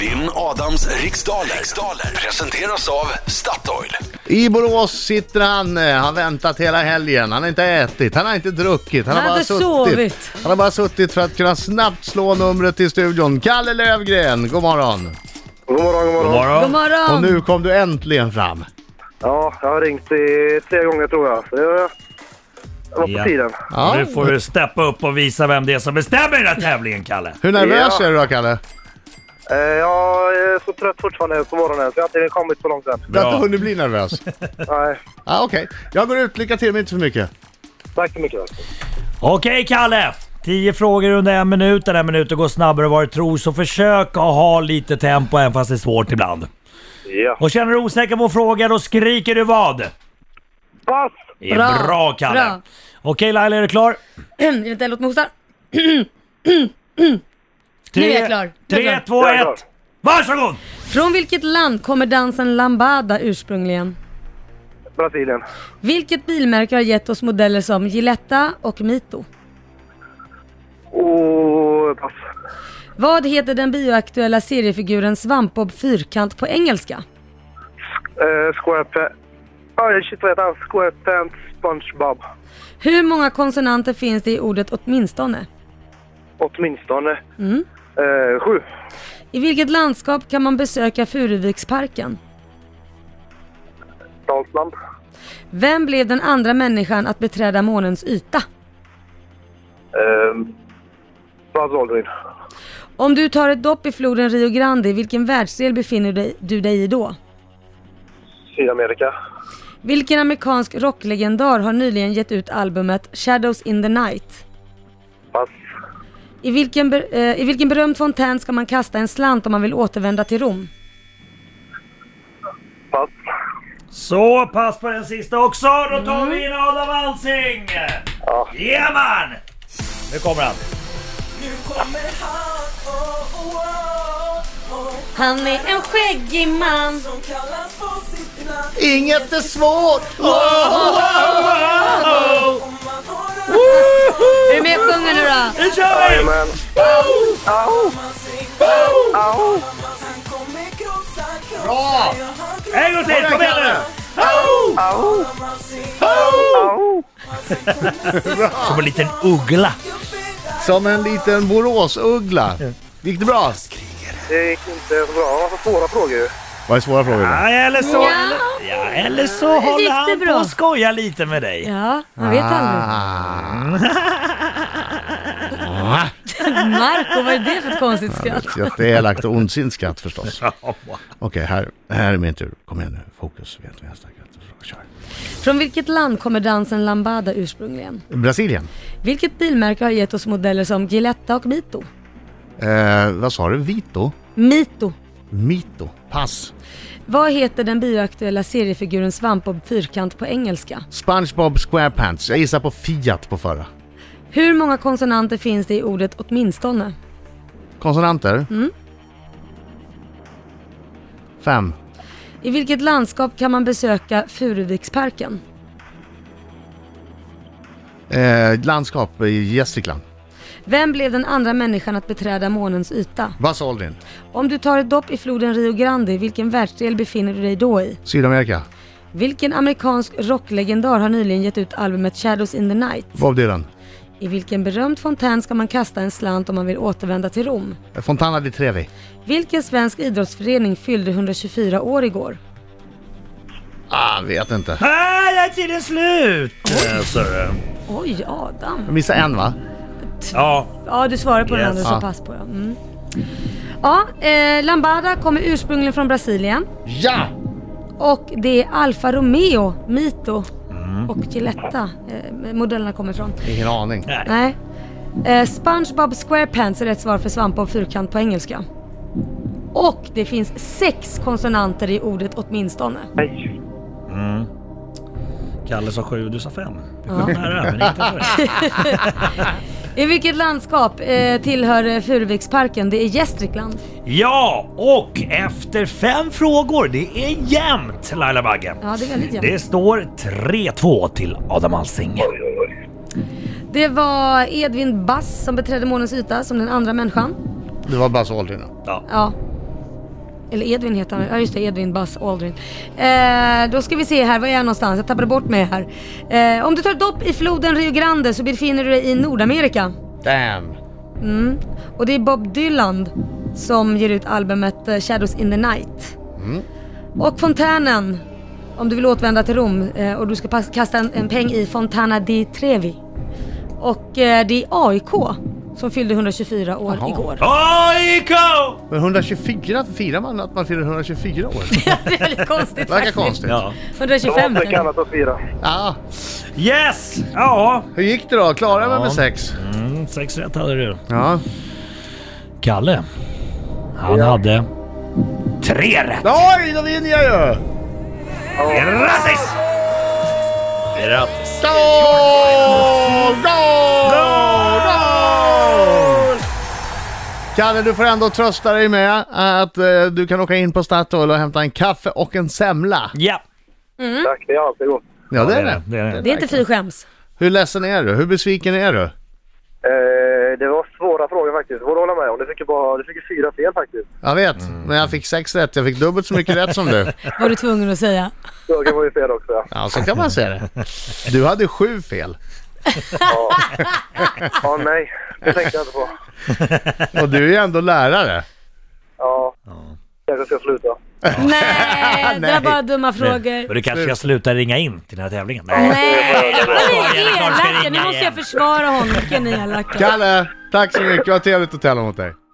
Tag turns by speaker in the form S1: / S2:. S1: Vinn Adams riksdaler. riksdaler presenteras av Statoil.
S2: I Borås sitter han, eh, han väntat hela helgen, han har inte ätit, han har inte druckit, han,
S3: Han
S2: har bara
S3: hade
S2: suttit.
S3: sovit.
S2: Han har bara suttit för att kunna snabbt slå numret till studion. Kalle Lövgren, god morgon.
S4: God morgon, god morgon.
S3: God morgon!
S2: Och nu kom du äntligen fram.
S4: Ja, jag har ringt i tre gånger tror jag. Så det det var på
S5: Ja.
S4: tiden.
S2: Ja.
S5: Nu får du steppa upp och visa vem det är som bestämmer den här tävlingen, Kalle.
S2: Hur nervös
S4: Ja.
S2: är du då Kalle?
S4: Eh, jag är så trött fortfarande på morgonen så jag har inte kommit så långt än.
S2: Du har inte
S5: Bra.
S2: hunnit bli nervös?
S4: Nej,
S2: Ja, Okej, jag går ut. Lycka till men inte för mycket.
S4: tack så mycket.
S5: Okej, Kalle! 10 frågor under en minut. Den här minuten går snabbare än vad du tror, så försök att ha lite tempo även fast det är svårt ibland.
S4: Ja.
S5: Och känner du osäker på en fråga, då skriker du vad?
S4: Pass!
S5: Det är
S3: Bra.
S5: bra, Kalle!
S3: Bra.
S5: Okej, Laila, är du klar?
S3: Enligt Elliot Mosar.
S5: Tre,
S3: är jag klar. Jag är
S5: Tre,
S3: klar.
S5: två,
S4: Jag är klar.
S5: ett. Varsågod!
S3: Från vilket land kommer dansen lambada ursprungligen?
S4: Brasilien.
S3: Vilket bilmärke har gett oss modeller som Gilletta och Mito?
S4: Och Oh, pass.
S3: Vad heter den bioaktuella seriefiguren Svampbob Fyrkant på engelska?
S4: Eh, square pants. Ah, shit vad heter han? Square pants SpongeBob.
S3: Hur många konsonanter finns det i ordet åtminstone?
S4: Åtminstone. Eh, sju.
S3: I vilket landskap kan man besöka Furuviksparken?
S4: Dalsland.
S3: Vem blev den andra människan att beträda månens yta?
S4: Eh, Buzz Aldrin.
S3: Om du tar ett dopp i floden Rio Grande, i vilken världsdel befinner dig- du dig i då?
S4: Sydamerika.
S3: Vilken amerikansk rocklegendar har nyligen gett ut albumet Shadows in the Night?
S4: Pass.
S3: I vilken, ber- eh, I vilken berömd fontän ska man kasta en slant om man vill återvända till Rom?
S4: Pass.
S5: Så, pass på den sista också. Då tar
S3: Mm.
S5: vi in Adam Alsing!
S4: Ja.
S5: Jajamän! Nu kommer han.
S3: Han är en skäggig man
S2: Inget är svårt!
S3: Är du med och sjunger nu då?
S5: Nu kör vi!
S4: Jajamän. Au!
S2: Bra!
S5: En gång till, kom igen nu! Au!
S4: Au! Au!
S5: Som en liten uggla.
S2: Som en liten Boråsuggla. Gick det bra?
S4: Det gick inte så bra. Det var så svåra frågor ju.
S2: Vad är svåra frågor? idag?
S5: Ja, eller så,
S3: Ja.
S5: eller, ja, eller så håller
S3: det
S5: han
S3: bra?
S5: på och skojar lite med dig.
S3: Ja, man vet aldrig.
S2: Ah.
S3: Marco, vad är det för ett konstigt skratt?
S2: Jätteelakt och ondsint skratt förstås. Okej, här, här är min tur. Kom igen nu, fokus. Vet vi nästa skratt. Kör.
S3: Från vilket land kommer dansen lambada ursprungligen?
S2: Brasilien.
S3: Vilket bilmärke har gett oss modeller som Gilletta och Mito?
S2: Eh, vad sa du? Vito?
S3: Mito.
S2: Mito? Pass.
S3: Vad heter den bioaktuella seriefiguren Svampbob Fyrkant på engelska?
S2: SpongeBob SquarePants. Jag gissar på Fiat på förra.
S3: Hur många konsonanter finns det i ordet åtminstone?
S2: Konsonanter? Fem.
S3: I vilket landskap kan man besöka Furuviksparken?
S2: Eh, landskap i Gästrikland.
S3: Vem blev den andra människan att beträda månens yta?
S2: Buzz Aldrin.
S3: Om du tar ett dopp i floden Rio Grande, i vilken världsdel befinner du dig då i?
S2: Sydamerika.
S3: Vilken amerikansk rocklegendar har nyligen gett ut albumet Shadows in the Night?
S2: Bob Dylan.
S3: I vilken berömd fontän ska man kasta en slant om man vill återvända till Rom?
S2: Fontana di Trevi.
S3: Vilken svensk idrottsförening fyllde 124 år igår?
S2: Ah, vet inte.
S5: Ah, jag är tiden slut! Eh, så är det.
S3: Oj, Adam.
S2: Jag missade en va?
S5: Ja,
S3: Ja, du svarar på den
S5: Yes.
S3: andra så
S2: Ja.
S3: pass på den. Mm. Ja, eh, Lambada kommer ursprungligen från Brasilien
S2: Ja!
S3: och det är Alfa Romeo, Mito och Gilletta eh, modellerna kommer ifrån.
S2: Ingen aning.
S5: nej.
S3: Nej. Eh, SpongeBob SquarePants är rätt svar för svampbob fyrkant på engelska. Och det finns sex konsonanter i ordet åtminstone.
S4: Nej.
S5: Kalle sa sju, du sa fem. Du kom nära, men inte så rätt.
S3: I vilket landskap eh, tillhör eh, Furuviksparken? Det är Gästrikland.
S5: Ja, och efter fem frågor, det är jämnt Laila Bagge.
S3: Ja, det är väldigt jämnt.
S5: Det står 3-2 till Adam Alsing.
S4: Oj, oj, oj.
S3: Det var Edvin Bass som beträdde månens yta som den andra människan.
S2: Det var Buzz Aldrin då.
S5: Ja.
S3: Ja. Eller Edvin heter han. Ja just det, Edvin Buzz Aldrin. Eh, då ska vi se här, var är jag någonstans? Jag tappade bort mig här. Eh, om du tar ett dopp i floden Rio Grande så befinner du dig i Nordamerika.
S2: Damn.
S3: Mm. Och det är Bob Dylan som ger ut albumet eh, Shadows in the Night.
S2: Mm.
S3: Och fontänen, om du vill återvända till Rom eh, och du ska pas- kasta en, en peng i Fontana di Trevi. Och eh, det är AIK som fyllde 124 år
S2: Jaha.
S3: igår.
S5: AIK!
S2: Men 124 firar man att man fyller 124 år?
S3: det är lite konstigt
S2: Verkar
S3: faktiskt.
S2: konstigt.
S5: Ja.
S3: 125
S4: Det
S3: kanske.
S4: kan att fira.
S2: Ja.
S5: Yes! Ja,
S2: Hur gick det då? Klarade man
S5: Ja.
S2: med sex?
S5: mm, sex rätt hade du.
S2: Ja.
S5: Kalle, han hade tre rätt.
S2: Oj, då vinner jag ju!
S5: Grattis! Grattis!
S2: Goal! Goal! Goal! Kalle, du får ändå trösta dig med att eh, du kan åka in på Statoil och hämta en kaffe och en semla.
S5: Ja,
S4: Tack, det är alltid gott.
S2: Ja, det är
S5: det är
S2: det.
S5: det, det är det.
S3: Det är inte fy skäms.
S2: Hur ledsen är du? Hur besviken är du?
S4: Eh, det var svåra frågor faktiskt. Det får du hålla med om. Du fick ju bara, du fick ju fyra fel faktiskt.
S2: Jag vet,
S5: Mm.
S2: men jag fick sex rätt. Jag fick dubbelt så mycket rätt som du.
S3: Var du tvungen att säga.
S4: Frågan var ju fel också. Ja,
S2: Ja, så kan man säga det. Du hade sju fel.
S4: ja nej. Det tänkte jag inte på.
S2: Och du är ju ändå lärare.
S4: Ja. Kanske ska sluta.
S3: Nej, det var
S2: Nej.
S3: bara dumma frågor.
S5: Men du kanske ska sluta ringa in till den här tävlingen?
S3: Nej, vad ni är
S5: Snart ska jag
S3: elaka.
S5: ringa
S3: Nu måste jag
S5: igen.
S3: försvara honom. Vilka ni är elaka.
S2: Kalle, tack så mycket. Vad trevligt att tävla mot dig.